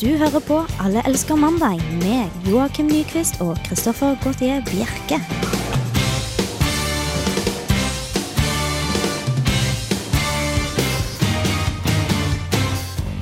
Du hører på Alle elsker mandag med Joakim Nyquist og Christoffer Gautier Bjerke.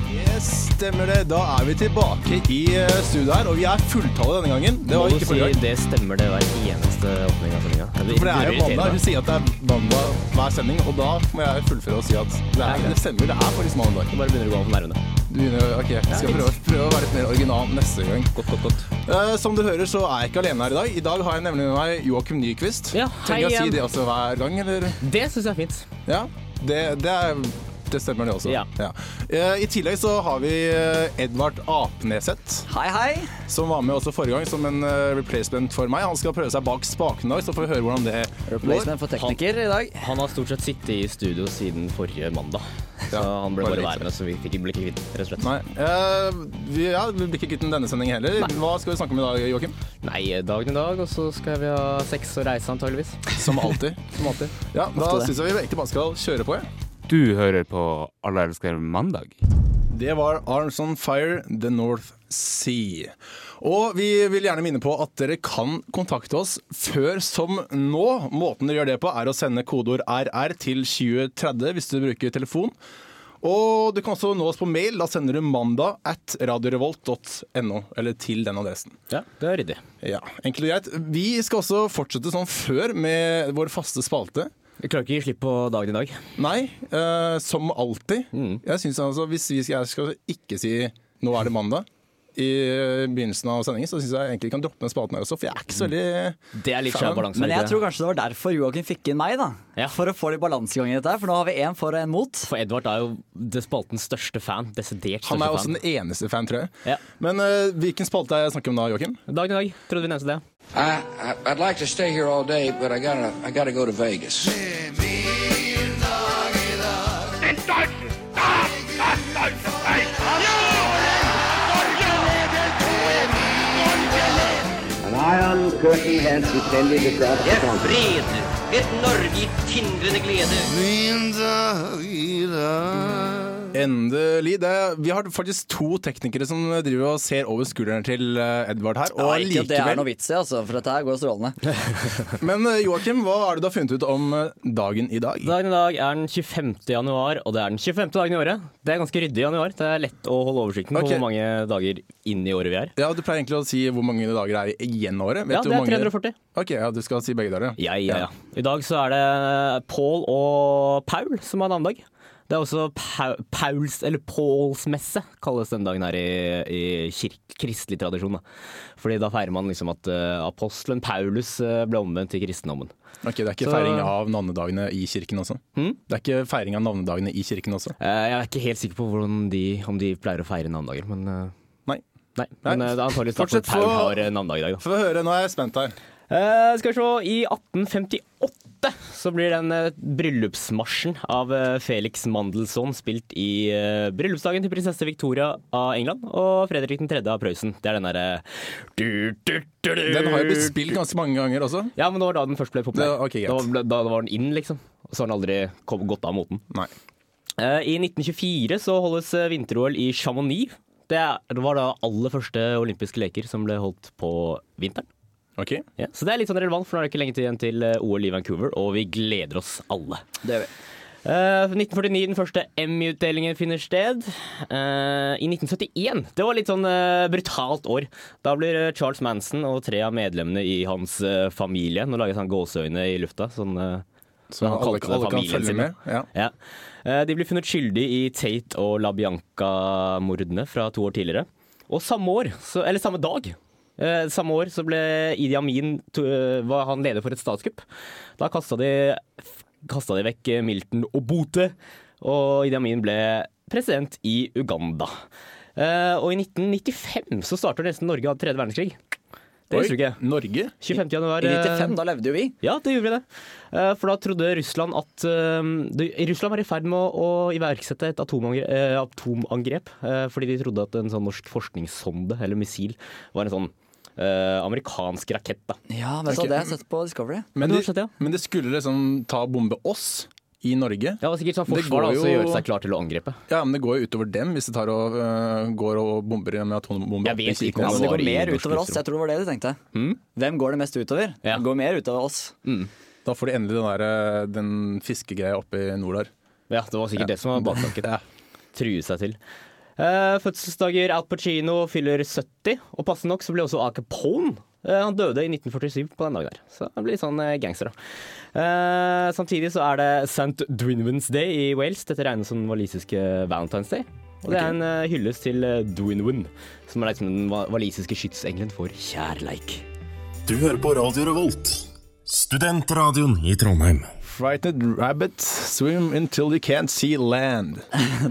Yes, stemmer det. Da er vi tilbake i eh, studio her, og vi er fulltallet denne gangen. Det var Må du ikke si forrige gang. det stemmer det hver eneste åpning av sendinga. For det er jo mandag. Hun sier at det er mandag hver sending, og da må jeg fullføre og si at det, er er, greit. det stemmer. Det er faktisk mandag. Bare begynner å gå av nervene. Du begynner, ok, jeg skal prøve, prøve å være litt mer original neste gang. Godt, godt, godt. Eh, som dere hører, så er jeg ikke alene her i dag. I dag har jeg nemlig med meg Joakim Nyquist. Ja, hei Trenger jeg å igjen. si det også hver gang, eller? Det syns jeg er fint. Ja, det, det er det stemmer, det også. Ja. Eh, I tillegg så har vi eh, Edvard Apneseth. Hei, hei. som var med også forrige gang som en eh, replacement for meg. Han skal prøve seg bak spaken i dag, så får vi høre hvordan det Replacement for tekniker i dag. Han har stort sett sittet i studio siden forrige mandag. Ja, Så han ble bare bare litt. værende, så vi fikk ikke blikket kvitt, rett og slett. Nei. eh, vi, ja, vi blir ikke kvitt den denne sendingen heller. Hva skal vi snakke om i dag, Joakim? Nei, dagen i dag, og så skal vi ha sex og reise antageligvis. Som alltid. Som alltid. Ja, da Ofte det. syns jeg vi egentlig bare skal kjøre på. jeg. Du hører på Alle elsker mandag. Det var Arms on Fire, The North Sea. Og vi vil gjerne minne på at dere kan kontakte oss før som nå. Måten dere gjør det på, er å sende kodeord RR til 2030 hvis du bruker telefon. Og du kan også nå oss på mail. Da sender du mandag at radiorevolt.no, eller til den adressen. Ja, det er ryddig. Ja, enkelt og greit. Vi skal også fortsette som før med vår faste spalte. Vi klarer ikke å gi slipp på dagen i dag. Nei, eh, som alltid. Mm. Jeg synes altså, Hvis vi skal, jeg skal ikke si 'nå er det mandag' i begynnelsen av sendingen, så syns jeg egentlig vi kan droppe den spalten her også, for jeg er ikke så veldig Det er litt Faen. skjev balanse. Men ikke jeg det? tror kanskje det var derfor Joakim fikk inn meg, da. Ja. For å få litt balansegang i dette her, for nå har vi én for og én mot. For Edvard er jo det spaltens største fan. Desidert største Han er også fan. den eneste fan, tror jeg. Ja. Men eh, hvilken spalte er jeg snakker om da, Joakim? Dagen i dag, trodde vi nevnte det. I, I I'd like to stay here all day, but I gotta I gotta go to Vegas. An iron curtain has descended across the country. Endelig. Det, vi har faktisk to teknikere som driver og ser over skuldrene til eh, Edvard her. Og Ja, ikke at det er noe likevel. vits i, altså, for dette her går Eh, strålende. Men eh, Joakim, hva er det du har funnet ut om eh, dagen i dag? Dagen i dag er den 25. januar, og det er den 25. dagen i året. Det er ganske ryddig i januar. Det er lett å holde oversikten Ok. på hvor mange dager inn i året vi er. Ja, Du pleier egentlig å si hvor mange dager det er igjen av året. Vet Ja, du det hvor er mange- 340. Ok, ja, Du skal si begge dager, ja. Ja, ja, ja. I dag så er det Pål og Paul som har navnedag. Det er også Pau- Pauls, eller Pålsmesse, kalles denne dagen her i, i kirk, kristelig tradisjon. Da. Fordi da feirer man liksom at eh, apostelen Paulus eh, ble omvendt til kristendommen. Ok, Det er ikke Så- feiring av navnedagene i kirken også? Det er ikke feiring av navnedagene i kirken også? Eh, jeg er ikke helt sikker på hvordan de, om de pleier å feire navnedager, men eh, Nei. Nei, men Nei. eh, det er antakeligvis derfor Fortsett, Paul få- har eh, navnedag i dag. Da. Få høre, nå er jeg spent her. Eh, skal vi se, i 1858 så blir den eh, bryllupsmarsjen av eh, Felix Mandelson spilt i eh, bryllupsdagen til prinsesse Victoria av England og Fredrik 3. av Prøysen. Det er den derre Den Den har jo blitt spilt ganske mange ganger også. Ja, men det var da den først ble populær. Det- ok, greit. da, ble, da var den inn, liksom. Og så har den aldri kom, gått av moten. Nei. Eh, I 1924 så holdes eh, vinter-OL i Chamonix. Det er- det var da aller første olympiske leker som ble holdt på vinteren. Ok. Ja, så det er litt sånn relevant, for nå er det ikke lenge til igjen til eh, OL i Vancouver, og vi gleder oss alle. Det gjør vi. Eh, 1949, den første Emmy-utdelingen finner sted. Eh, I 1971, det var litt sånn eh, brutalt år. Da blir eh, Charles Manson og tre av medlemmene i hans eh, familie Nå lages han gåseøyne i lufta. sånn... eh, Så han alle, kalte det alle kan familien følge sin, med. Ja. ja. Eh, De ble funnet skyldig i Tate og LaBianca-mordene fra to år tidligere. Og samme år, så, eller samme dag, eh, samme år så ble Idi Amin to, eh, var han leder for et statskupp. Da kasta de, f- kastet de vekk Milton Obote, og Idi Amin ble president i Uganda. Eh, Og i 1995 så starter nesten Norge av tredje verdenskrig. Det visste du ikke. Oi, Norge? 25. januar I eh, 95, da levde jo vi. ja, det gjorde vi det. Eh, For da trodde Russland at eh, det- Russland var i ferd med å, å iverksette et atomangrep, eh, atomangrep eh, fordi de trodde at en sånn norsk forskningssonde, eller missil, var en sånn eh, amerikansk rakett. da. Ja, vet du hva, det har jeg sånn sett på Discovery. Men du de, har sett det, ja. men de skulle liksom ta og bombe oss i Norge. Det var sikkert sånn Det forsvar da, går også jo- gjøre seg klar til å angripe. Ja, men det går jo utover dem hvis de tar og øh, går og bomber med atombomber. Jeg vet opp i ikke Kirkenes. om Altså, det var går i mer norsk utover oss. lufterom. Jeg tror det var det du tenkte. Hvem går det mest utover? Hmm? Ja. Det går mer utover oss. Da får de endelig den, der, øh, den fiskegreia oppe i nord der. Ja, det var sikkert det som var baktanken. True seg til. Eh, fødselsdager Al Pacino fyller 70, og passende nok så ble også Al Capone. eh, han døde i 1947 på den dagen der, så han blir sånn eh, gangster, da. Eh, samtidig så er det St. Dwinwans Day i Wales. Dette regnes som den walisiske Valentine's Day. Og det er en eh, hyllest til eh, Dwinwen, som er liksom den wa- walisiske skytsengelen for kjærleik. Du hører på Radio Revolt, studentradioen i Trondheim. Frightened rabbits swim until you can't see land.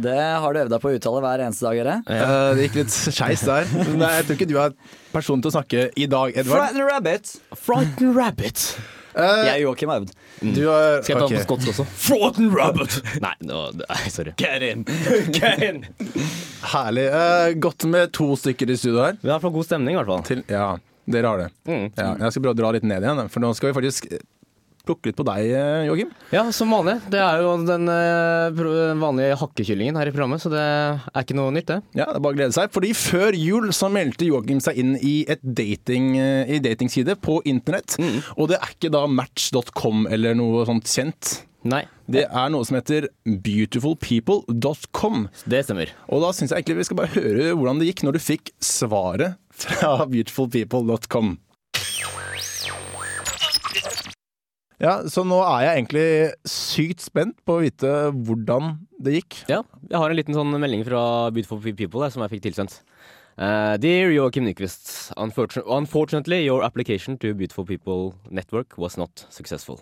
Det har du øvd deg på å uttale hver eneste dag, dere. Eh, det gikk litt skeis der. Men eh, jeg tror ikke du er personen til å snakke i dag, Edvard. Eh, Frightened rabbit. Frightened Rabbit! Jeg er Eh, Joakim har øvd. Du er, Skal jeg ta ok. den på skotsk også? Frightened Rabbit! Nei, nå, nei, sorry. Get in! Get in! Herlig. Eh, godt med to stykker i studio her. Vi har i hvert fall god stemning, i hvert fall. Til, ja, dere har det. Mm. Ja, jeg skal prøve å dra litt ned igjen, for nå skal vi faktisk eh, plukke litt på deg, eh, Joakim. Ja, som vanlig. Det er jo den eh, pro- den vanlige hakkekyllingen her i programmet, så det er ikke noe nytt, det. Ja, det er bare å glede seg. Fordi før jul så meldte Joakim seg inn i et dating, eh, i datingside på internett. Mm. Og det er ikke da match.com eller noe sånt kjent. Nei, Det er noe som heter beautifulpeople.com. det stemmer. Og da syns jeg egentlig vi skal bare høre hvordan det gikk når du fikk svaret fra beautifulpeople.com. Ja, så nå er jeg egentlig sykt spent på å vite hvordan det gikk. Ja, jeg har en liten sånn melding fra Beautiful People der, som jeg fikk tilsendt. Eh, dear Joakim Nyquist, unfortun- unfortunately your application to Beautiful People Network was not successful.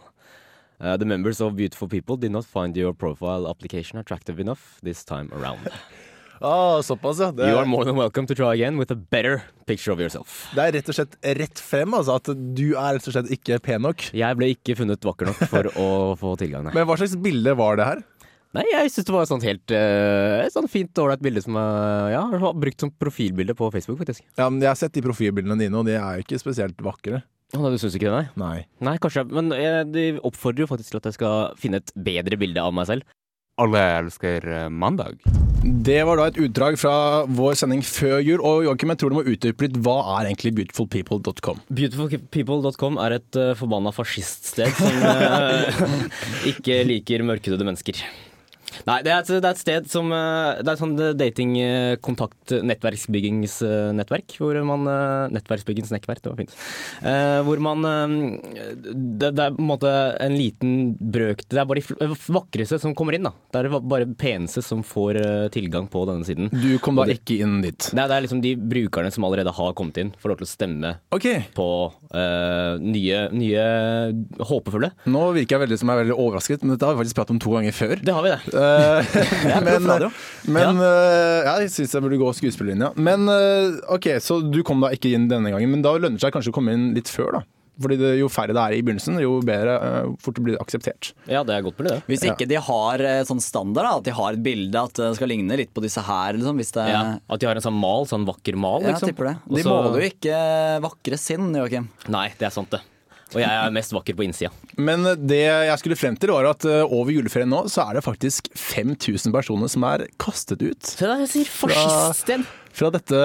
Eh, the members of Beautiful People did not find your profile application attractive enough this time around. Ah, såpass, ja. Det You are more than welcome to try again with a better picture of yourself. Det er rett og slett rett frem, altså. At du er rett og slett ikke pen nok. Jeg ble ikke funnet vakker nok for å få tilgang. nei. Men hva slags bilde var det her? Nei, jeg syns det var et sånt helt eh, et sånt fint, ålreit bilde som jeg ja, har brukt som profilbilde på Facebook, faktisk. Ja, men jeg har sett de profilbildene dine, og de er jo ikke spesielt vakre. Å, nei, du syns ikke det, nei? Nei. Nei, kanskje jeg- Men eh, de oppfordrer jo faktisk til at jeg skal finne et bedre bilde av meg selv. Alle elsker eh, mandag. Det var da et utdrag fra vår sending før jul. Og Joakim, jeg tror du må utdype litt. Hva er egentlig beautifulpeople.com? Beautifulpeople.com er et uh, forbanna fasciststed som eh, ikke liker mørkhudede mennesker. Nei, det er et, det er et sted som eh, Det er et sånn dating-kontakt-nettverksbyggingsnettverk. eh, Hvor man eh, Nettverksbyggingsnettverk, det var fint. Eh, hvor man eh, det, det er på en måte en liten brøk Det er bare de fl- eh, vakreste som kommer inn, da. Det er det bare peneste som får eh, tilgang på denne siden. Du kom da ikke inn dit. Nei, det er liksom de brukerne som allerede har kommet inn, får lov til å stemme Ok, på eh, nye, nye håpefulle. nå virker jeg veldig som jeg er veldig overrasket, men dette har vi faktisk pratet om to ganger før. Det har vi, det. Eh, men radio. men eh, ja, jeg syns jeg burde gå skuespillerlinja. Men eh, OK, så du kom da ikke inn denne gangen, men da lønner det seg kanskje å komme inn litt før, da. Fordi det, Jo færre det er i begynnelsen, jo bedre eh, fort det blir akseptert. Ja, det er godt mulig, det. Hvis ikke de har eh, sånn standard, da, at de har et bilde at det skal ligne litt på disse her, liksom, hvis det Ja, at de har en sånn mal, sånn vakker mal, Ja, liksom. tipper det. Og De så- måler jo ikke vakre sinn, Joakim. Nei, det er sant, det. Og jeg er mest vakker på innsida. Men det jeg skulle frem til, var at eh, over juleferien nå, så er det faktisk 5000 personer som er kastet ut Se der, jeg sier fasciststed! fra dette,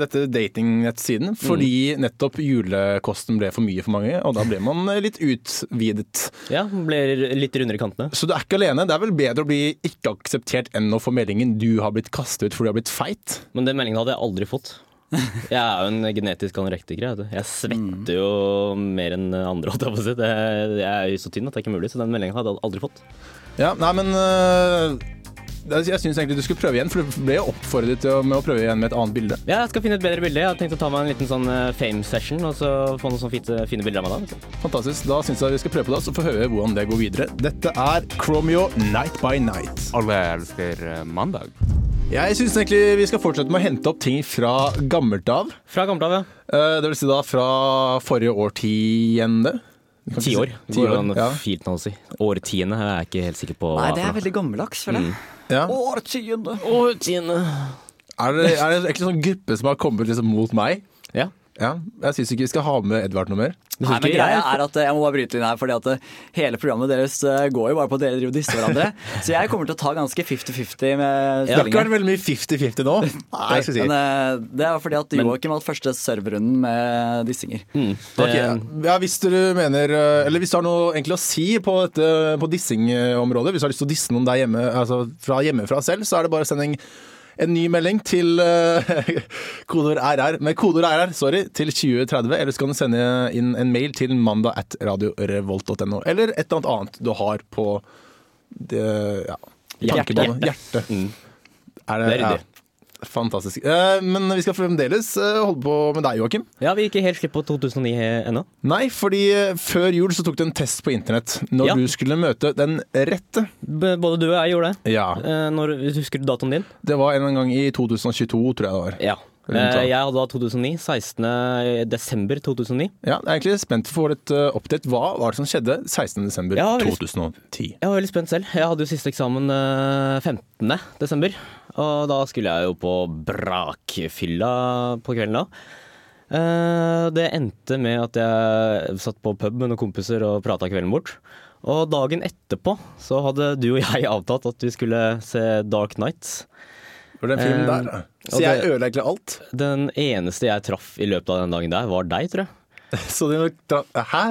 dette datingnettsiden fordi nettopp julekosten ble for mye for mange, og da ble man eh, litt utvidet. Ja, blir litt rundere i kantene. Så du er ikke alene. Det er vel bedre å bli ikke akseptert enn å få meldingen du har blitt kastet ut fordi du har blitt feit. Men den meldingen hadde jeg aldri fått. Jeg er jo en genetisk anorektiker. Jeg, vet du. jeg svetter jo mer enn andre. holdt Jeg på å si. Det- jeg er jo så tynn at det er ikke mulig, så den meldingen hadde jeg aldri fått. Ja, nei, men øh, det- Jeg syns egentlig du skulle prøve igjen, for du ble jo oppfordret til å, med å prøve igjen med et annet bilde. Ja, jeg skal finne et bedre bilde. Jeg har tenkt å ta meg en liten sånn eh, fame-session og så få noen sånne fine, fine bilder av meg da. Liksom. Fantastisk. Da syns jeg vi skal prøve på det, så får vi høre hvordan det går videre. Dette er Chromeo Night by Night. Alle elsker eh, mandag. Jeg syns egentlig vi skal fortsette med å hente opp ting fra gammelt av. Fra gammelt av, ja. Eh, Det vil si da fra forrige årtiende. Du kan ikke si- Tiår. Tiår, ja. Fint å si. Årtiende er jeg ikke helt sikker på. Nei, det er veldig gammeldags, føler jeg. Ja. Årtiende. Årtiende. Er det, er det egentlig en sånn gruppe som har kommet liksom mot meg? Ja. Ja, jeg syns ikke vi skal ha med Edvard noe mer. Du Nei, synes men ikke greia jeg- er at eh, Jeg må bare bryte inn her, fordi at eh, hele programmet deres eh, går jo bare på at dere driver og disser hverandre. Så jeg kommer til å ta ganske 50-50 Det har med ikke stillingen. vært veldig mye 50-50 nå. Nei, skal jeg Men si. eh, det er fordi at Joakim hadde første serverunden med dissinger. Ok, ja, hvis dere mener eh, Eller hvis du har noe egentlig å si på, dette, på dissingområdet, hvis du har lyst til å disse noen der hjemme, altså fra hjemmefra selv, så er det bare å sende en- en ny melding til eh, kodeord RR, med kodeord RR, sorry, til 2030. Eller så kan du sende inn en mail til mandag at radiorevolt.no. Eller et eller annet annet du har på det, ja, Hjertet. Mm. tankebanen. Hjertet. Er det, Det er ja, ryddig. fantastisk. Eh, Men vi skal fremdeles eh, holde på med deg, Joakim. Ja, vi gikk helt slipp på 2009 ennå. Nei, fordi eh, før jul så tok du en test på internett. Når Ja. du skulle møte den rette. B- Både du og jeg gjorde det. Ja. Eh, Når, husker du datoen din? Det var en gang i 2022, tror jeg det var. Ja. Eh, Rundt da. Jeg hadde da 2009. 16. desember 2009. Ja, jeg er egentlig spent for å få litt eh, update. Hva var det som skjedde 16.12.2010? Ja, veldig- 2010 Jeg var veldig spent selv. Jeg hadde jo siste eksamen eh, 15. desember. Og da skulle jeg jo på brakfylla på kvelden da. Eh, Det endte med at jeg satt på pub med noen kompiser og prata kvelden bort. Og dagen etterpå så hadde du og jeg avtalt at vi skulle se Dark Nights. Var det en film Eh, der? da? og Så jeg det- ødela egentlig alt. Den eneste jeg traff i løpet av den dagen der, var deg, tror jeg. Så det Hæ?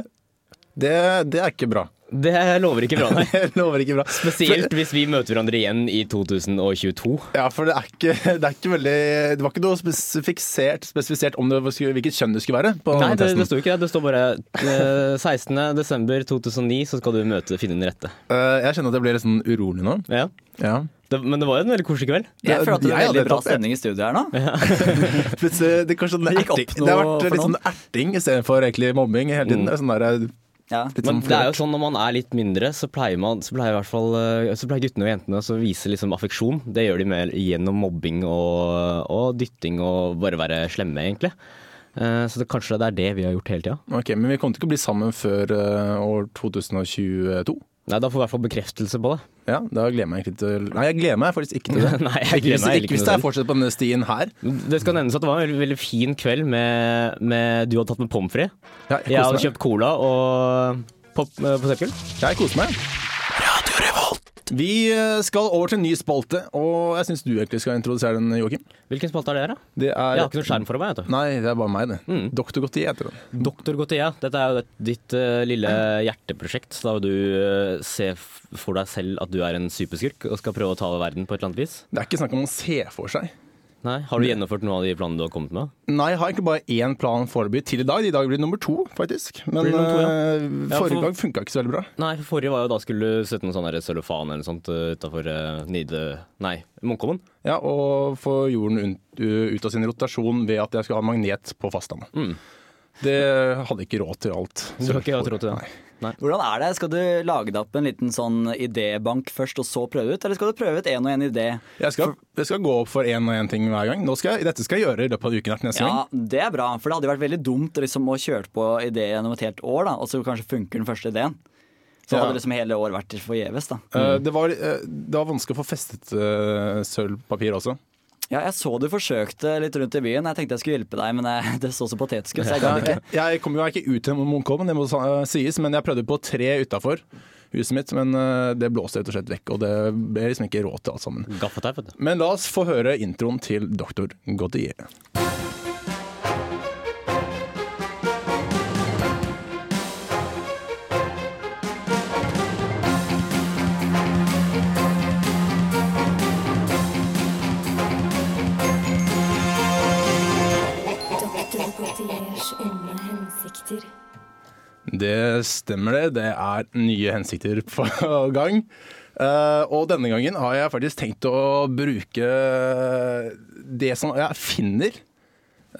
Det, eh, det er ikke bra. Det lover ikke bra, nei. Jeg lover ikke bra. Spesielt hvis vi møter hverandre igjen i 2022. Ja, for det er ikke, det er ikke veldig Det var ikke noe spesifisert, spesifisert om det, var- hvilket kjønn det skulle være. På Nei, den det, testen. det står ikke det. Det står bare eh, 16. desember 2009 så skal du møte Finne den rette. Eh, Jeg kjenner at jeg blir litt sånn urolig nå. Ja. Ja. Det, men det var jo en veldig koselig kveld. Ja, Jeg føler at det jeg er hadde veldig bra tatt det. stemning i studio her nå. Plutselig, det, er kanskje sånn Det gikk opp erting. noe det har vært for litt noen. sånn erting istedenfor egentlig mobbing hele tiden. Det er Sånn der, Ja. litt sånn Men det er jo flørt. sånn når man er litt mindre, så pleier, man, så pleier, i hvert fall, eh, så pleier guttene og jentene å vise liksom affeksjon. Det gjør de mer gjennom mobbing og, og dytting og bare være slemme, egentlig. Eh, Så det, kanskje det er det vi har gjort hele tida. Ok, Men vi kommer til ikke å bli sammen før eh, år 2022. Nei, da får vi i hvert fall bekreftelse på det. Ja, da gleder jeg meg egentlig til Nei, jeg gleder meg faktisk ikke til det. Nei, jeg gleder hvis, meg heller ikke ikke hvis til jeg det. fortsetter på denne stien her. Det skal nevnes at det var en veldig, veldig fin kveld med, med Du hadde tatt med pommes frites. Ja, jeg Jeg koser hadde meg. kjøpt cola og pop, eh, potetgull. Jeg koser meg. Vi eh, skal over til en ny spalte, og jeg syns du egentlig skal introdusere den, Joakim. Hvilken spalte er det her, da? Det er Jeg har ikke noe skjerm for meg. vet du. Nei, det er bare meg, det. Doktor Gotti heter den. Doktor Gotia, dette er jo det- ditt eh, lille hjerteprosjekt. Da du eh, ser f- for deg selv at du er en superskurk og skal prøve å ta over verden på et eller annet vis. Det er ikke snakk om å se for seg. Nei, Har du gjennomført noen av de planene du har kommet med? Nei, jeg har egentlig bare én plan foreløpig til i dag. I dag blir det nummer to, faktisk. Men Blir det nummer to, ja. eh, Ja, forrige for- dag funka ikke så veldig bra. Nei, for forrige var jo da skulle du sette noen sånn der cellofan eller noe sånt eh, utafor Nide... Nei, Munkholmen. Ja, Og få jorden un- u- ut av sin rotasjon ved at jeg skal ha magnet på fastlandet. Det hadde ikke råd til alt. Mm. Du har ikke hatt råd til det? Nei. Hvordan er det? Skal du lage deg opp en liten sånn idébank først, og så prøve ut? Eller skal du prøve ut én og én idé? Jeg skal, jeg skal gå opp for én og én ting hver gang. Nå skal jeg, dette skal jeg gjøre i løpet av uken her til neste gang. Ja, det er bra, for det hadde jo vært veldig dumt liksom, å kjøre på ideen om et helt år, da, og så kanskje funker den første ideen. Så Ja. hadde liksom hele året vært forgjeves, da. Mm. Eh, det, var, eh, det var vanskelig å få festet eh, sølvpapir også. Ja, jeg så du forsøkte litt rundt i byen. Jeg tenkte jeg skulle hjelpe deg, men eh, det så så patetisk ut, så jeg Ja, gadd ikke. jeg, jeg kom jo ikke ut til Munkholmen, det må sa- sies, men jeg prøvde på tre utafor huset mitt. Men eh, det blåste rett og slett vekk, og det ble liksom ikke råd til alt sammen. Gaffateip, vet du. Men la oss få høre introen til Doktor Gautier. Doktor Gautiers onde hensikter. Det stemmer det. Det er nye hensikter på gang. Eh, og denne gangen har jeg faktisk tenkt å bruke eh, det som jeg finner.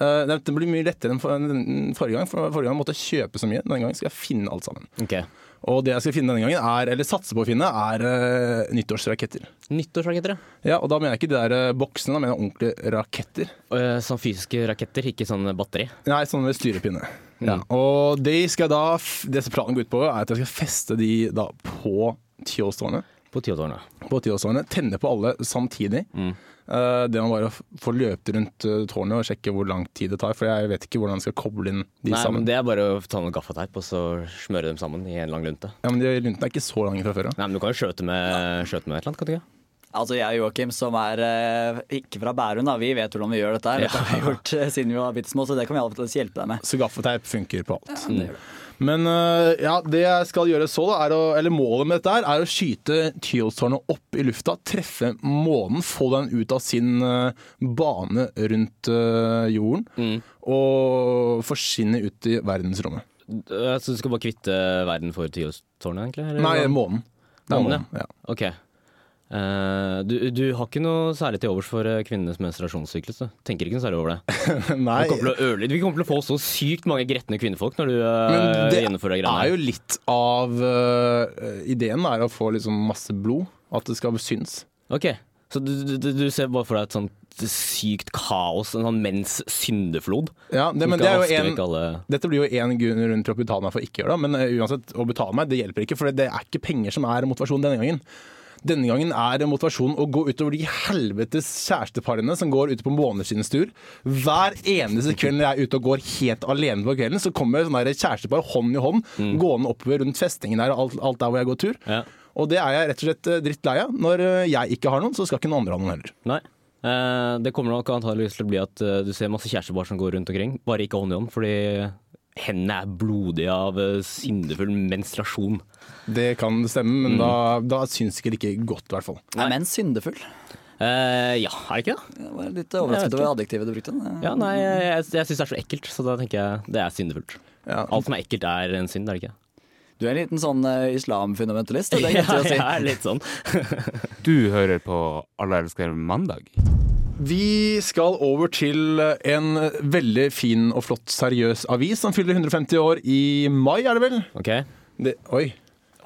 Eh, det blir mye lettere enn for- enn forrige gang. For forrige gang måtte jeg kjøpe så mye. Denne gangen skal jeg finne alt sammen. Ok. Og det jeg skal finne denne gangen, er, eller satse på å finne, er eh, nyttårsraketter. Nyttårsraketter, ja. Ja, og da mener jeg ikke de der eh, boksene, da mener jeg ordentlige raketter. Eh, Sånn fysiske raketter, ikke sånn batteri. Nei, sånne med styrepinne. Ja. Og de skal da, f- det som planen går ut på, er at jeg skal feste de da på T-stående. På tiårene. på tiårsårene, tenne på alle samtidig. Mm. Eh, det man bare f- får løpt rundt eh, tårnet og sjekke hvor lang tid det tar, for jeg vet ikke hvordan jeg skal koble inn de Nei, sammen. men det er bare å ta noe gaffateip og så smøre dem sammen i en lang lunte. Ja, men de runtene er ikke så lange fra før av. Nei, men du kan jo skjøte med, skjøte med et eller annet, kan du ikke? Altså Jeg og Joakim, som er eh, ikke fra Bærum, da, vi vet hvordan vi gjør dette. her. Dette har vi gjort eh, siden vi var bitte små, så det kan vi alltid hjelpe deg med. Så gaffeteip funker på alt. men eh, ja, det jeg skal gjøre så, da, er å, eller målet med dette her, er å skyte Tyholtstårnet opp i lufta, treffe månen, få den ut av sin eh, bane rundt eh, jorden, Mm. og forsvinne ut i verdensrommet. Eh, Så du skal bare kvitte verden for tiårstårnet, egentlig? eller? Nei, månen. Det er Månen, månen, ja. Ok. Eh, du, du har ikke noe særlig til overs for eh, kvinnenes menstruasjonssyklus? Du tenker ikke noe særlig over det? Nei, Vi kommer, til å ødelegge- vi kommer til å få så sykt mange gretne kvinnefolk når du Men uh, det gjennomfører de er jo greiene. her. litt av øh, Ideen er å få liksom masse blod. At det skal syns. Ok, Så du, du, du- du ser bare for deg et sånt sykt kaos, en sånn menns syndeflod? Ja, det, Som men det skal er vaske jo vekk en, alle- dette blir jo én grunn til å betale meg for å ikke gjøre det. Men øh, uansett, å betale meg det hjelper ikke, for det er ikke penger som er motivasjonen denne gangen. Denne gangen er motivasjonen å gå utover de helvetes kjæresteparene som går ute på måneskinnstur. Hver eneste kveld når jeg er ute og går helt alene på kvelden, så kommer sånne der kjærestepar hånd i hånd gående oppover rundt festningen der og alt, alt der hvor jeg går tur. Ja. Og det er jeg rett og slett eh, drittlei av. Når eh, jeg ikke har noen, så skal ikke noen andre ha noen heller. Nei. Eh, det kommer nok antageligvis til å bli at eh, du ser masse kjærestepar som går rundt omkring, bare ikke hånd i hånd, fordi hendene er blodige av eh, syndefull menstruasjon. Det kan stemme, men da, da syns ikke det ikke godt, i hvert fall. Nei. Men syndefull. Eh, ja, er det ikke det? Jeg var litt Jeg vet overrasket ikke. over adjektivet du brukte. Ja, nei, jeg, jeg, jeg syns det er så ekkelt, så da tenker jeg det er syndefullt. Ja. Alt som er ekkelt, er en synd, er det ikke? Du er en liten sånn eh, islamfundamentalist. og Det er greit å si. jeg er litt sånn. Du hører på Alle elsker mandag. Vi skal over til en veldig fin og flott seriøs avis som fyller 150 år i mai, er det vel? Ok. Det, oi.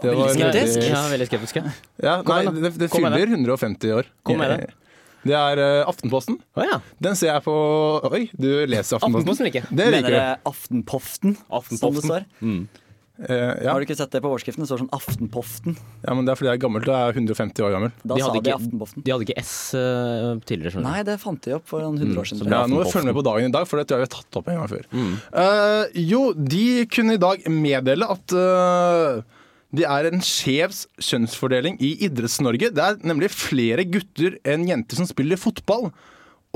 Det Veldig skeptisk. veldig- Ja, veldig skeptisk. ja. Ja, nei, igjen, da. det, det Kom med fyller 150 år. Kom med det. Det er eh, Aftenposten. Å ja. Den ser jeg på Oi, du leser Aftenposten? Aftenposten liker jeg. Det Mener liker det du. Aftenpoften, som det Aftenpoften. Mm. står? Eh, ja. Har du ikke sett det på overskriften? Det står sånn Aftenpoften. ja, men det er fordi jeg er gammel. Du er 150 år gammel. Da De sa hadde de ikke- Aftenpoften. De hadde ikke S eh, tidligere, skjønner du. Nei, det fant de opp for noen Mm, hundre år siden. Ja, nå må Aftenposten. Mm. jeg følge med på dagen i dag, for det tror jeg vi har tatt opp en gang før. Eh, jo, de kunne i dag meddele at eh, det er en skjevs kjønnsfordeling i Idretts-Norge. Det er nemlig flere gutter enn jenter som spiller fotball.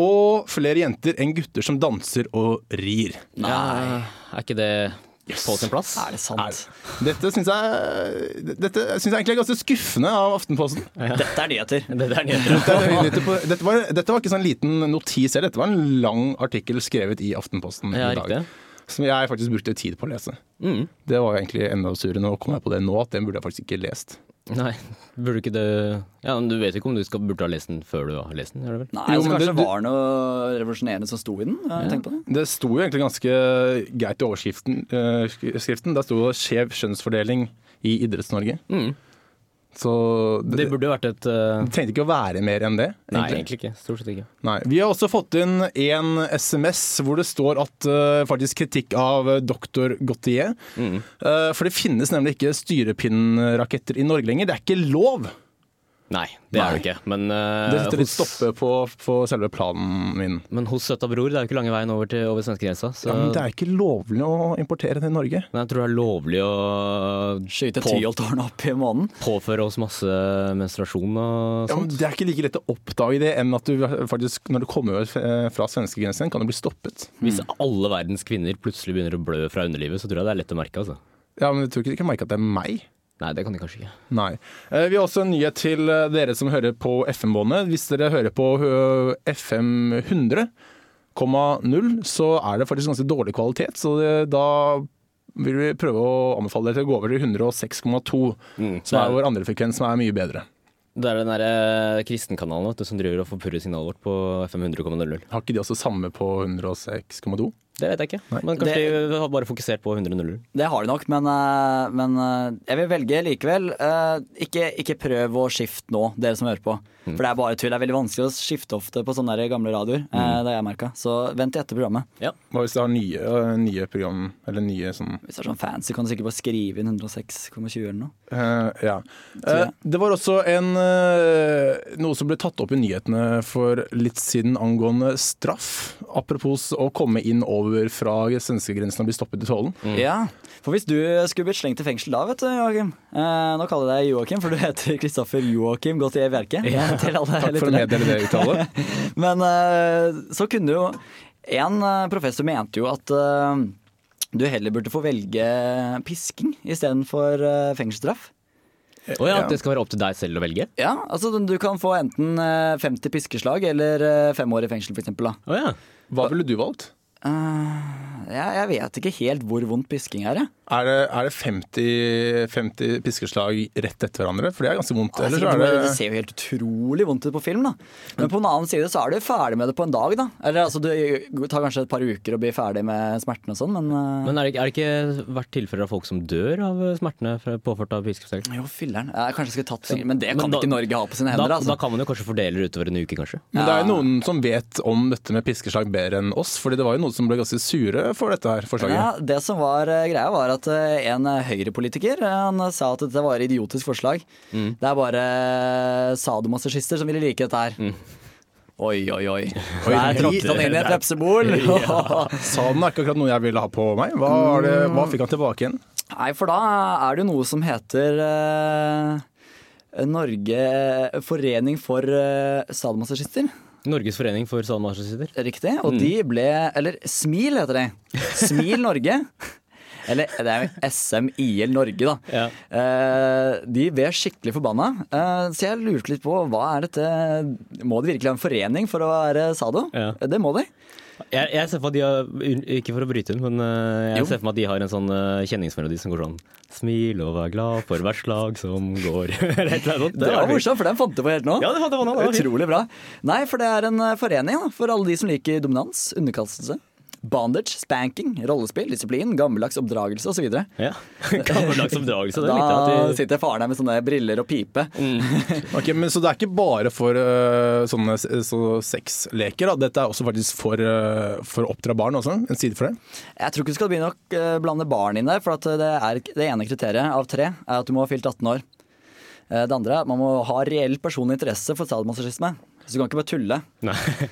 Og flere jenter enn gutter som danser og rir. Ja, Ah, er ikke det på sin plass? Er det sant? Dette syns jeg, dette synes jeg egentlig er ganske skuffende av Aftenposten. Dette er nyheter. Det der er nyheter. Dette, er høylytte på, dette, var, dette var ikke sånn liten notis heller, dette var en lang artikkel skrevet i Aftenposten Ja, i dag. riktig. Som jeg faktisk brukte tid på å lese. Det var jo egentlig enda surere. Nå kom jeg på det nå, at den burde jeg faktisk ikke lest. Nei, burde ikke det Ja, men Du vet jo ikke om du skal, burde ha lest den før du har lest den? gjør du vel? Nei, Jo, så men kanskje det- det var noe revolusjonerende som sto i den? Ja, tenk på det. Det sto jo egentlig ganske greit i overskriften. eh, sk- skriften. Der sto det 'skjev kjønnsfordeling i Idretts-Norge'. Så Det Mm. det, burde jo vært et eh, det trengte ikke å være mer enn det. Nei, egentlig ikke. Stort sett ikke. Nei. Vi har også fått inn en SMS hvor det står at eh, faktisk kritikk av eh, doktor Gautier. Eh, for det finnes nemlig ikke styrepinnraketter i Norge lenger. Det er ikke lov! Nei, det er det ikke. Men, eh, Det setter litt hos- stoppe på, på selve planen min. men hos søta bror, det er jo ikke lange veien over, til- over svenskegrensa. Så Ja, men det er ikke lovlig å importere til Norge. Nei, jeg tror det er lovlig å Skyte på- Tyholtårnet opp i månen. påføre oss masse menstruasjon og Ja, men sånt. det er ikke like lett å oppdage det enn at du faktisk, når du kommer over eh, fra svenskegrensen, kan du bli stoppet. Hvis alle verdens kvinner plutselig begynner å blø fra underlivet, så tror jeg det er lett å merke. altså. Ja, men du tror ikke de kan merke at det er meg? Nei, det kan de kanskje ikke. Nei. Eh, Vi har også en nyhet til eh, dere som hører på FM-båndet. Hvis dere hører på eh, FM 100,0, så er det faktisk ganske dårlig kvalitet. Så det, da vil vi prøve å anbefale dere til å gå over til 106,2, som det er er- vår andre frekvens, som er mye bedre. Det er den der eh, kristenkanalen vet du, som driver og forpurrer signalet vårt på FM 100,00. Har ikke de også samme på 106,2? Det vet jeg ikke. Men kanskje de har bare fokusert på 100 nuller. Det har de nok, men, eh, men eh, jeg vil velge likevel. eh, Ikke, ikke prøv å skifte nå, dere som hører på. Mm. For det er bare tull. Det er veldig vanskelig å skifte ofte på sånne der gamle radioer. eh, Mm. Det har jeg merka. Så vent til etter programmet. Hva hvis du har nye, øh, nye program, eller nye sånn Hvis det er sånn fancy, kan du sikkert bare skrive inn 106,20 eller noe. Eh, ja. jeg. Eh, det var også en, eh, noe som ble tatt opp i nyhetene for litt siden angående straff. Apropos å komme inn over fra svenskegrensen og bli stoppet i tollen. Ja, for hvis du skulle blitt slengt i fengsel da, vet du, Joakim. Eh, nå kaller jeg deg Joakim, for du heter Kristoffer Joakim Godt i Bjerke. eh, Til alle Takk for å lytterne. meddele det uttalet. Men eh, så kunne du jo En eh, professor mente jo at eh, du heller burde få velge pisking istedenfor uh, fengselsstraff. Eh, Å ja, at det skal være opp til deg selv å velge? Ja, altså du kan få enten eh, 50 piskeslag eller eh, fem år i fengsel, f.eks. da. Å ja. Hva ville du valgt? Jeg, Eh, jeg vet ikke helt hvor vondt pisking er, jeg. Er det, er det 50, 50 piskeslag rett etter hverandre? For det er ganske vondt. Ja, altså, Eller det, så er er sikkert- det det ser jo helt utrolig vondt ut på film, da. Men på den annen side så er du ferdig med det på en dag, da. Eller altså, du tar kanskje et par uker å bli ferdig med smerten og sånn, men, eh, Men er det, ikke- er det ikke vært tilfeller av folk som dør av eh, smertene fra- påført av piskeslag? eh, Jo, filleren. Jeg kanskje skulle tatt fingeren, men det Men kan da- ikke Norge ha på sine Da, hender, da altså. kan man jo kanskje fordele det utover en uke, kanskje. men det er jo noen som vet om dette med piskeslag bedre enn oss, fordi det var jo noen som ble ganske sure for dette her forslaget. Ja, det som var eh, greia, var at eh, en eh, høyrepolitiker eh, han eh, sa at dette var et idiotisk forslag. Det er bare eh, sadomasochister som ville like dette her. Oi, oi, oi. Der trådte han inn i et vepsebol. Salen er ikke akkurat noe jeg ville ha på meg. Hva, er det, hva fikk han tilbake igjen? Nei, for da er det jo noe som heter eh, Norge eh, Forening for uh, sadomasochister. Norges forening for sadomasochister. Riktig. Mm. Og de ble Eller SMIL heter de. SMIL Norge. Eller det er jo SMIL Norge, da. Ja. Eh, de ble skikkelig forbanna. Eh, så jeg lurte litt på hva er dette Må de virkelig ha en forening for å være sado? Ja. Det må de. Jeg, jeg ser for meg at de har un- Ikke for å bryte inn, men eh, jeg Jo. ser for meg at de har en sånn eh, kjenningsmelodi som går sånn Smil og vær glad for hvert slag som går. Eller et eller annet sånt. Det var fint. morsomt, for den fant du på helt nå. Ja, det fant jeg på nå, det var fint. Utrolig bra. Nei, for det er en eh, forening da, for alle de som liker dominans, underkastelse, bandage, spanking, rollespill, disiplin, gammeldags oppdragelse osv. Ja. Gammeldags oppdragelse. Det Da likte jeg. At Mm. sitter faren her med sånne briller og pipe. Ok, men Så det er ikke bare for øh, sånne se- så sexleker? da. Dette er også faktisk for, øh, for å oppdra barn? også, En side for det? Jeg tror ikke du skal begynne å eh, blande barn inn der, for at eh, det, er, det ene kriteriet av tre er at du må ha fylt 18 år. Eh, Det andre er at man må ha reell personlig interesse for sadomasochisme. Så du kan ikke bare tulle. de Nei.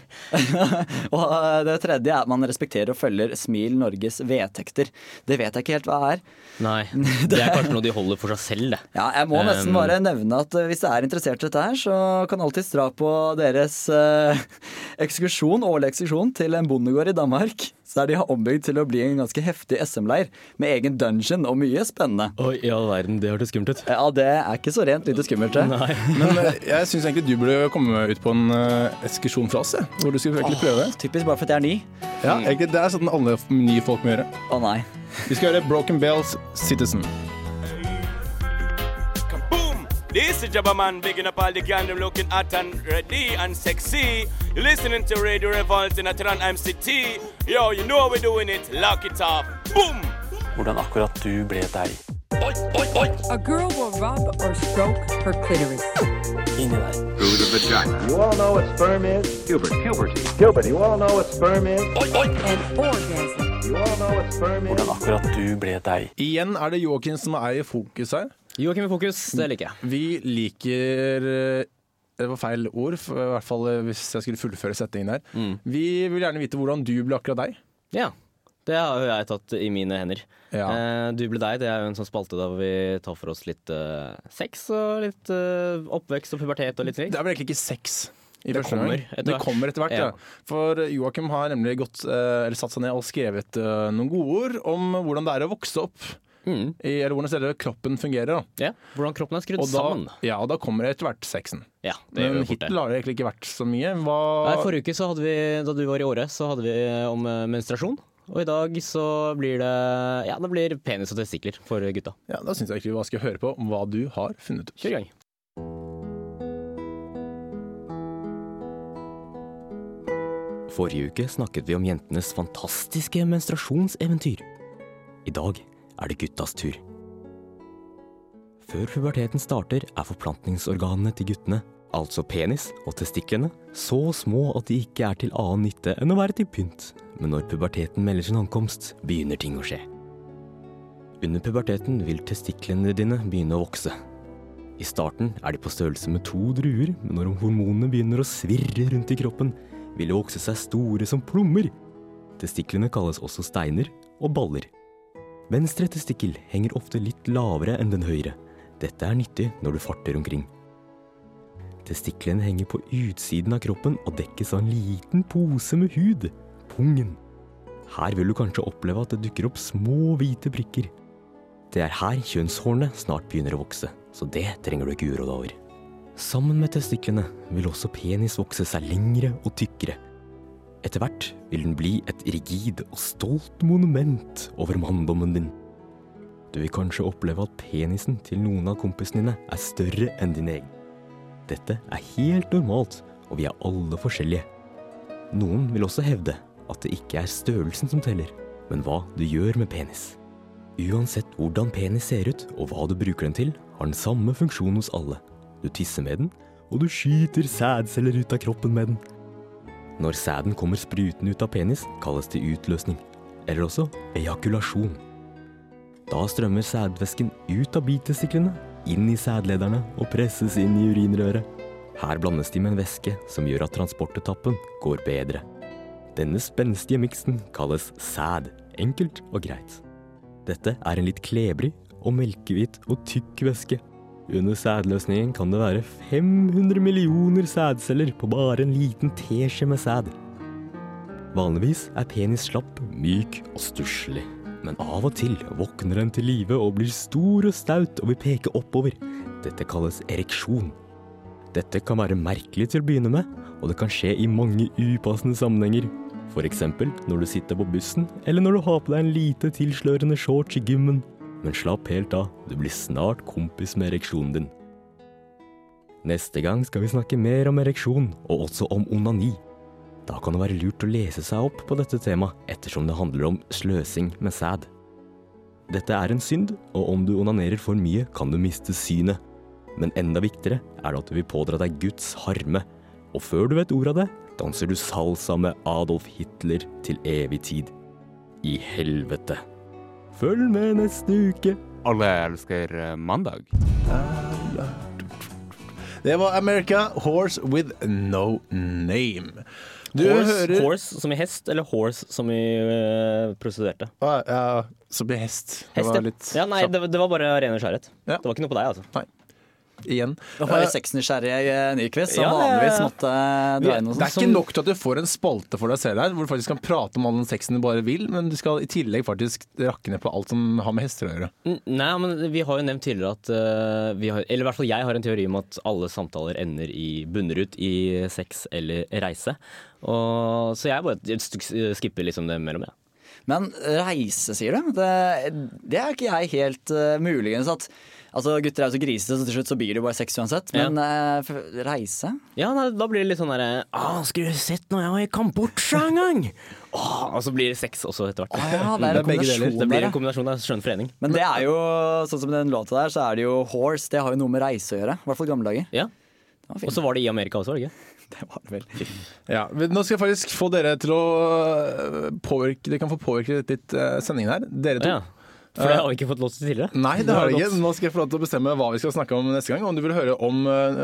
Og eh, det tredje er at man respekterer og følger Smil Norges vedtekter. Det vet jeg ikke helt hva er. Nei. Det er kanskje noe de holder for seg selv, det. Ja, jeg må nesten Um, bare nevne at eh, hvis du er interessert i dette her, så kan alltids dra på deres eh, ekskursjon, årlig ekskursjon til en bondegård i Danmark, der de har ombygd til å bli en ganske heftig SM-leir med egen dungeon og mye spennende. Oi, i all verden, det hørtes skummelt ut. Ja, det er ikke så rent lite skummelt, det. Nei. Men øh, jeg syns egentlig du burde komme ut på en øh, ekskursjon fra oss, jeg, hvor du skulle virkelig prøve. Typisk bare for at jeg er ny. Ja, egentlig, Det er sånn alle f- nye folk må gjøre. Å nei. Vi skal gjøre Broken Bells Citizen. Boom! This is Jabba Man bigging up all the gandom looking hot and ready and sexy. You're listening to Radio Revolt in Atran MCT. Yo, you know how we're doing it. Lock it up. Boom! Hvordan akkurat du ble et elg. A girl will rub or stroke her clitoris. Inni deg. You all know what sperm is? Puberty. Puberty. Puberty. You all know what sperm is? An orgasm. You all know what sperm is? Hvordan akkurat du ble et elg. Igjen er det Joakim som er i fokus her. Joakim i fokus, det liker jeg. Vi liker øh, Det var feil ord, for, i hvert fall øh, hvis jeg skulle fullføre setningen her. Mm. Vi vil gjerne vite hvordan du ble akkurat deg. Ja. Det har jo jeg tatt i mine hender. Ja. Eh, du ble deg, det er jo en sånn spalte der vi tar for oss litt eh, sex og litt eh, oppvekst og pubertet og litt slik. Det er vel egentlig ikke sex. I Det første kommer omgang. etter det hvert. kommer etter hvert. Ja. Ja. For Joakim har nemlig gått, eh, eller satt seg ned og skrevet eh, noen gode ord om hvordan det er å vokse opp. Mm. I, eller hvordan selve kroppen fungerer. Da. Ja. Hvordan kroppen er skrudd Og da, sammen. ja, og da kommer etter hvert sexen. Ja, det gjør Men jo fort det. hittil har det egentlig ikke vært så mye. Hva, Nei, forrige uke så hadde vi, da du var i Åre, så hadde vi om eh, menstruasjon. Og i dag så blir det ja, det blir penis og testikler for gutta. ja, da syns jeg ikke vi bare skal høre på om hva du har funnet ut. Kjør i gang. Forrige uke snakket vi om jentenes fantastiske menstruasjonseventyr. I dag er det guttas tur. Før puberteten starter, er forplantningsorganene til guttene, altså penis og testiklene, så små at de ikke er til annen nytte enn å være til pynt. Men når puberteten melder sin ankomst, begynner ting å skje. Under puberteten vil testiklene dine begynne å vokse. I starten er de på størrelse med to druer, men når hormonene begynner å svirre rundt i kroppen, vil de vokse seg store som plommer. Testiklene kalles også steiner og baller. Venstre testikkel henger ofte litt lavere enn den høyre. Dette er nyttig når du farter omkring. Testiklene henger på utsiden av kroppen og dekkes av en liten pose med hud, pungen. Her vil du kanskje oppleve at det dukker opp små hvite prikker. Det er her kjønnshårene snart begynner å vokse, så det trenger du ikke uråde over. Sammen med testiklene vil også penis vokse seg lengre og tykkere. Etter hvert vil den bli et rigid og stolt monument over manndommen din. Du vil kanskje oppleve at penisen til noen av kompisene dine er større enn din egen. Dette er helt normalt, og vi er alle forskjellige. Noen vil også hevde at det ikke er størrelsen som teller, men hva du gjør med penis. Uansett hvordan penis ser ut og hva du bruker den til, har den samme funksjon hos alle. Du tisser med den, og du skyter sædceller ut av kroppen med den. Når sæden kommer sprutende ut av penis, kalles det utløsning, eller også ejakulasjon. Da strømmer sædvæsken ut av bitestiklene, inn i sædlederne og presses inn i urinrøret. Her blandes de med en væske som gjør at transportetappen går bedre. Denne spenstige miksen kalles sæd, enkelt og greit. Dette er en litt klebrig og melkehvit og tykk væske. Under sædløsningen kan det være 500 millioner sædceller på bare en liten teskje med sæd. Vanligvis er penis slapp, myk og stusslig. Men av og til våkner den til live og blir stor og staut og vil peke oppover. Dette kalles ereksjon. Dette kan være merkelig til å begynne med, og det kan skje i mange upassende sammenhenger. F.eks. når du sitter på bussen, eller når du har på deg en lite tilslørende shorts i gymmen. Men slapp helt av, du blir snart kompis med ereksjonen din. Neste gang skal vi snakke mer om ereksjon, og også om onani. Da kan det være lurt å lese seg opp på dette temaet, ettersom det handler om sløsing med sæd. Dette er en synd, og om du onanerer for mye, kan du miste synet. Men enda viktigere er det at du vil pådra deg Guds harme. Og før du vet ordet av det, danser du salsa med Adolf Hitler til evig tid. I helvete. Følg med neste uke. Alle elsker eh, mandag. Det var America Horse with No Name. Du horse, hører horse som i hest, eller horse som i uh, prostituerte? Ah, ja, Som blir hest. Det Hest, var ja. litt ja. Nei, kjapt. det, det var bare ren nysgjerrighet. Ja. Det var ikke noe på deg, altså. Igjen. Det var sexnysgjerrige Nyquist som Eh, Ja, det- vanligvis måtte eh, dra inn sånn, noe Det er sånt. ikke nok til at du får en spalte for deg selv her, hvor du faktisk kan prate om all den sexen du bare vil, men du skal i tillegg faktisk rakke ned på alt som har med hester å gjøre. N- Nei, men vi har jo nevnt tidligere at eh, vi har, Eller i hvert fall jeg har en teori om at alle samtaler ender i bunner ut i sex eller reise. Og, så jeg bare st- skipper liksom det mellom, jeg. Men eh, reise, sier du? Det, det er ikke jeg helt eh, muligens at Altså, Gutter er jo så grisete, så til slutt så blir det jo bare sex uansett. Men eh, f- reise? Ja, nei, da blir det litt sånn derre ah, 'Skulle du sett når jeg var i Kambodsja en gang?' Åh, og så blir det sex også etter hvert. Ja, det er en begge deler. kombinasjon Det blir der. en ja. kombinasjon av skjønn forening. Men det er jo, sånn som den låta der, så er det jo horse. Det har jo noe med reise å gjøre. I hvert fall i gamle dager. Ja. var fin. Og så var det i Amerika også, var det ikke? Det var det vel. Ja, men Nå skal jeg faktisk få dere til å øh, påvirke Dere kan få påvirke litt, litt øh, sendingen her. Dere to. Ja. For det har vi ikke fått lov til tidligere. Nei, det har Det jeg har ikke. Nå skal jeg få lov til å bestemme hva vi skal snakke om neste gang. Om du vil høre om øh,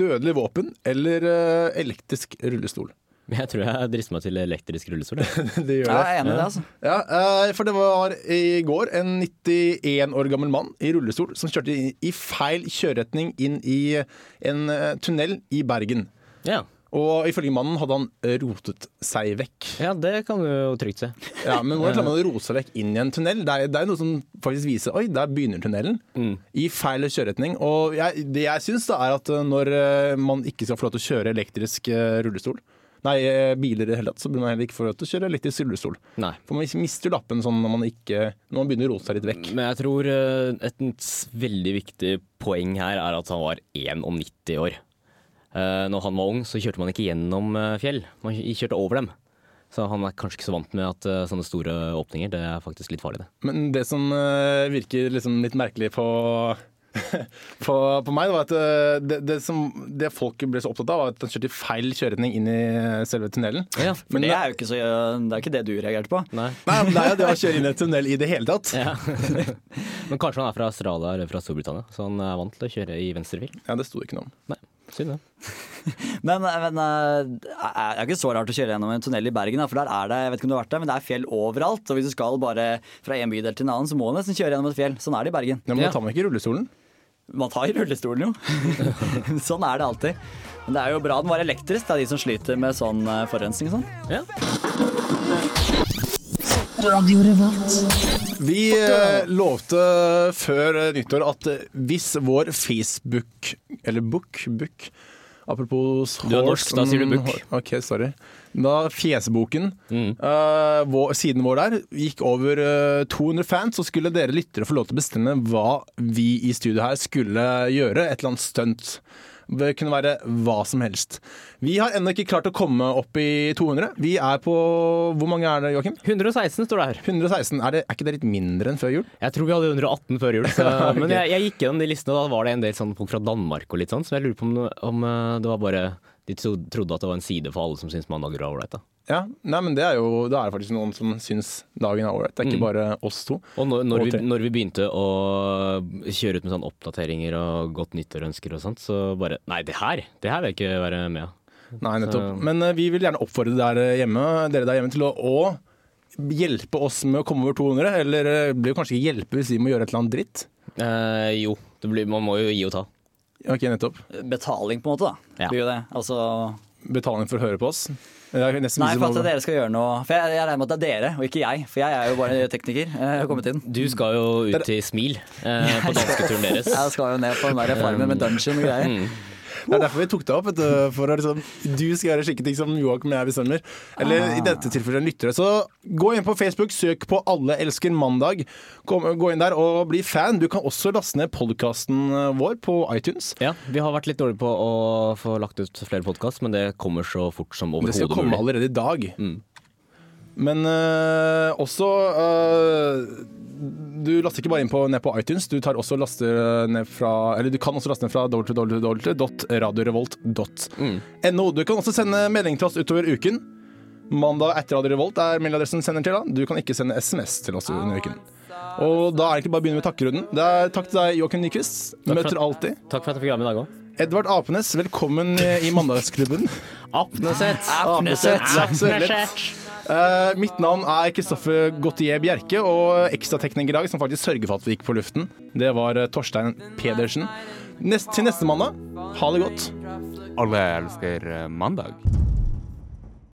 dødelig våpen eller øh, elektrisk rullestol. Men jeg tror jeg drister meg til elektrisk rullestol. jeg. Det gjør Ja, jeg er enig i det, altså. Ja, eh, for det var i går en 91 år gammel mann i rullestol som kjørte i- i feil kjøreretning inn i en eh, tunnel i Bergen. Ja. Og ifølge mannen hadde han rotet seg vekk. ja, det kan du jo trygt se. Ja, Men hvordan klarer man å rote seg vekk inn i en tunnel? Det er, det er noe som faktisk viser Oi, der begynner tunnelen. I feil kjøreretning. Og jeg, det jeg syns, da, er at eh, når eh, man ikke skal få lov til å kjøre elektrisk eh, rullestol Nei, eh, biler i det hele tatt, så burde man heller ikke få lov til å kjøre elektrisk rullestol. Nei. For man mister lappen sånn når man, ikke, når man begynner å rote seg litt vekk. Men jeg tror eh, et s- veldig viktig poeng her er at han var 91 år. Eh, Eh, når han var ung, så kjørte man ikke gjennom eh, fjell, man kj- kjørte over dem. Så han er kanskje ikke så vant med at eh, sånne store åpninger, det er faktisk litt farlig, det. Men det som eh, virker liksom litt merkelig på på, på meg, det var at eh, det, det, som, det folk ble så opptatt av, var at den kjørte i feil kjøreretning inn i selve tunnelen. Men det er jo ikke så eh, Det er ikke det du reagerte på. Nei. Nei, men det er jo det å kjøre inn i en tunnel i det hele tatt. Ja, Men kanskje han er fra Australia eller fra Storbritannia, så han er vant til å kjøre i venstrefil. det sto det ikke noe om. Nei, synd det. Men, men eh, det er ikke så rart å kjøre gjennom en tunnel i Bergen, da, for der er det jeg vet ikke om du har vært der, men det er fjell overalt. Og hvis du skal bare fra en bydel til en annen, så må du nesten kjøre gjennom et fjell. Sånn er det i Bergen. Ja, men da tar man ikke rullestolen. Man tar rullestolen, jo. sånn er det alltid. Men det er jo bra den var elektrisk, det er de som sliter med sånn eh, forurensning og sånn. Ja. Vi eh, lovte før eh, nyttår at eh, hvis vår Facebook Eller book, book Apropos Du er norsk, da sier du mm, book. Mm. hår- Ok, sorry. Da Fjesboken, eh, vår, siden vår der, gikk over eh, 200 fans, så skulle dere lyttere få lov til å bestemme hva vi i studio her skulle gjøre. Et eller annet stunt. Det kunne være hva som helst. Vi har ennå ikke klart å komme opp i 200. Vi er på Hvor mange er det, Joakim? 116 står det her. 116. Er, det, er ikke det litt mindre enn før jul? Jeg tror vi hadde 118 før jul, så, Ok. men jeg, jeg gikk gjennom de listene, og da var det en del sånn folk fra Danmark og litt sånn, så jeg lurer på om, om eh, det var bare de tro- trodde at det var en side for alle som syntes mandager var ålreit. da. Ja, nei, men det er jo Da er det faktisk noen som syns dagen er ålreit. Det er ikke Mm. bare oss to. Og når, når, Og vi, tre. når vi begynte å kjøre ut med sånn oppdateringer og godt nyttårønsker og sånt, så bare Nei, det her det her vil jeg ikke være med av. Nei, nettopp. Så- Men eh, vi vil gjerne oppfordre der hjemme, dere der hjemme til å, å hjelpe oss med å komme over 200. Eller eh, blir jo kanskje ikke hjelpe hvis vi må gjøre et eller annet dritt. Eh, jo, det blir, man må jo gi og ta. Ok, nettopp. Betaling, på en måte, da. Ja. Blir jo det. Altså Betaling for å høre på oss. Det er nesten Nei, som for å- at dere skal gjøre noe For jeg, jeg regner med at det er dere, og ikke jeg. For jeg er jo bare tekniker. eh, Jeg har kommet inn. Du skal jo ut til Smil eh, på dansketuren deres. altså. Jeg skal jo ned på den der farmen med dungeon og greier. Det er derfor vi tok det opp. Vet du, for å liksom, du skal gjøre slike ting som Joakim og jeg bestemmer. Eller i dette tilfellet lyttere. Så gå inn på Facebook, søk på 'Alle elsker mandag'. Kom, gå inn der og bli fan. Du kan også laste ned podkasten vår på iTunes. Ja, Vi har vært litt dårlige på å få lagt ut flere podkast, men det kommer så fort som Det skal overhodet komme mulig. allerede i dag. Mm. Men øh, også øh, Du laster ikke bare inn på, ned på iTunes, du, tar også og laster eh, ned fra, eller du kan også laste ned fra www.radiorevolt.no. Du kan også sende melding til oss utover uken. Mandag etter Radio Revolt er mailadressen du sender til. da Du kan ikke sende SMS til oss under uken. Og da er det egentlig bare å begynne med takkerunden. Det er takk til deg, Joakim Nyquist. Møter alltid. Takk for at jeg fikk være med i dag òg. Edvard Apenes, velkommen eh, i Mandagsklubben. Apneseth! Eh, mitt navn er Kristoffer Gautier Bjerke, og ekstratekniker i dag som faktisk sørger for at vi gikk på luften, det var eh, Torstein Pedersen. Nest, til neste mandag, ha det godt. Alle elsker eh, mandag.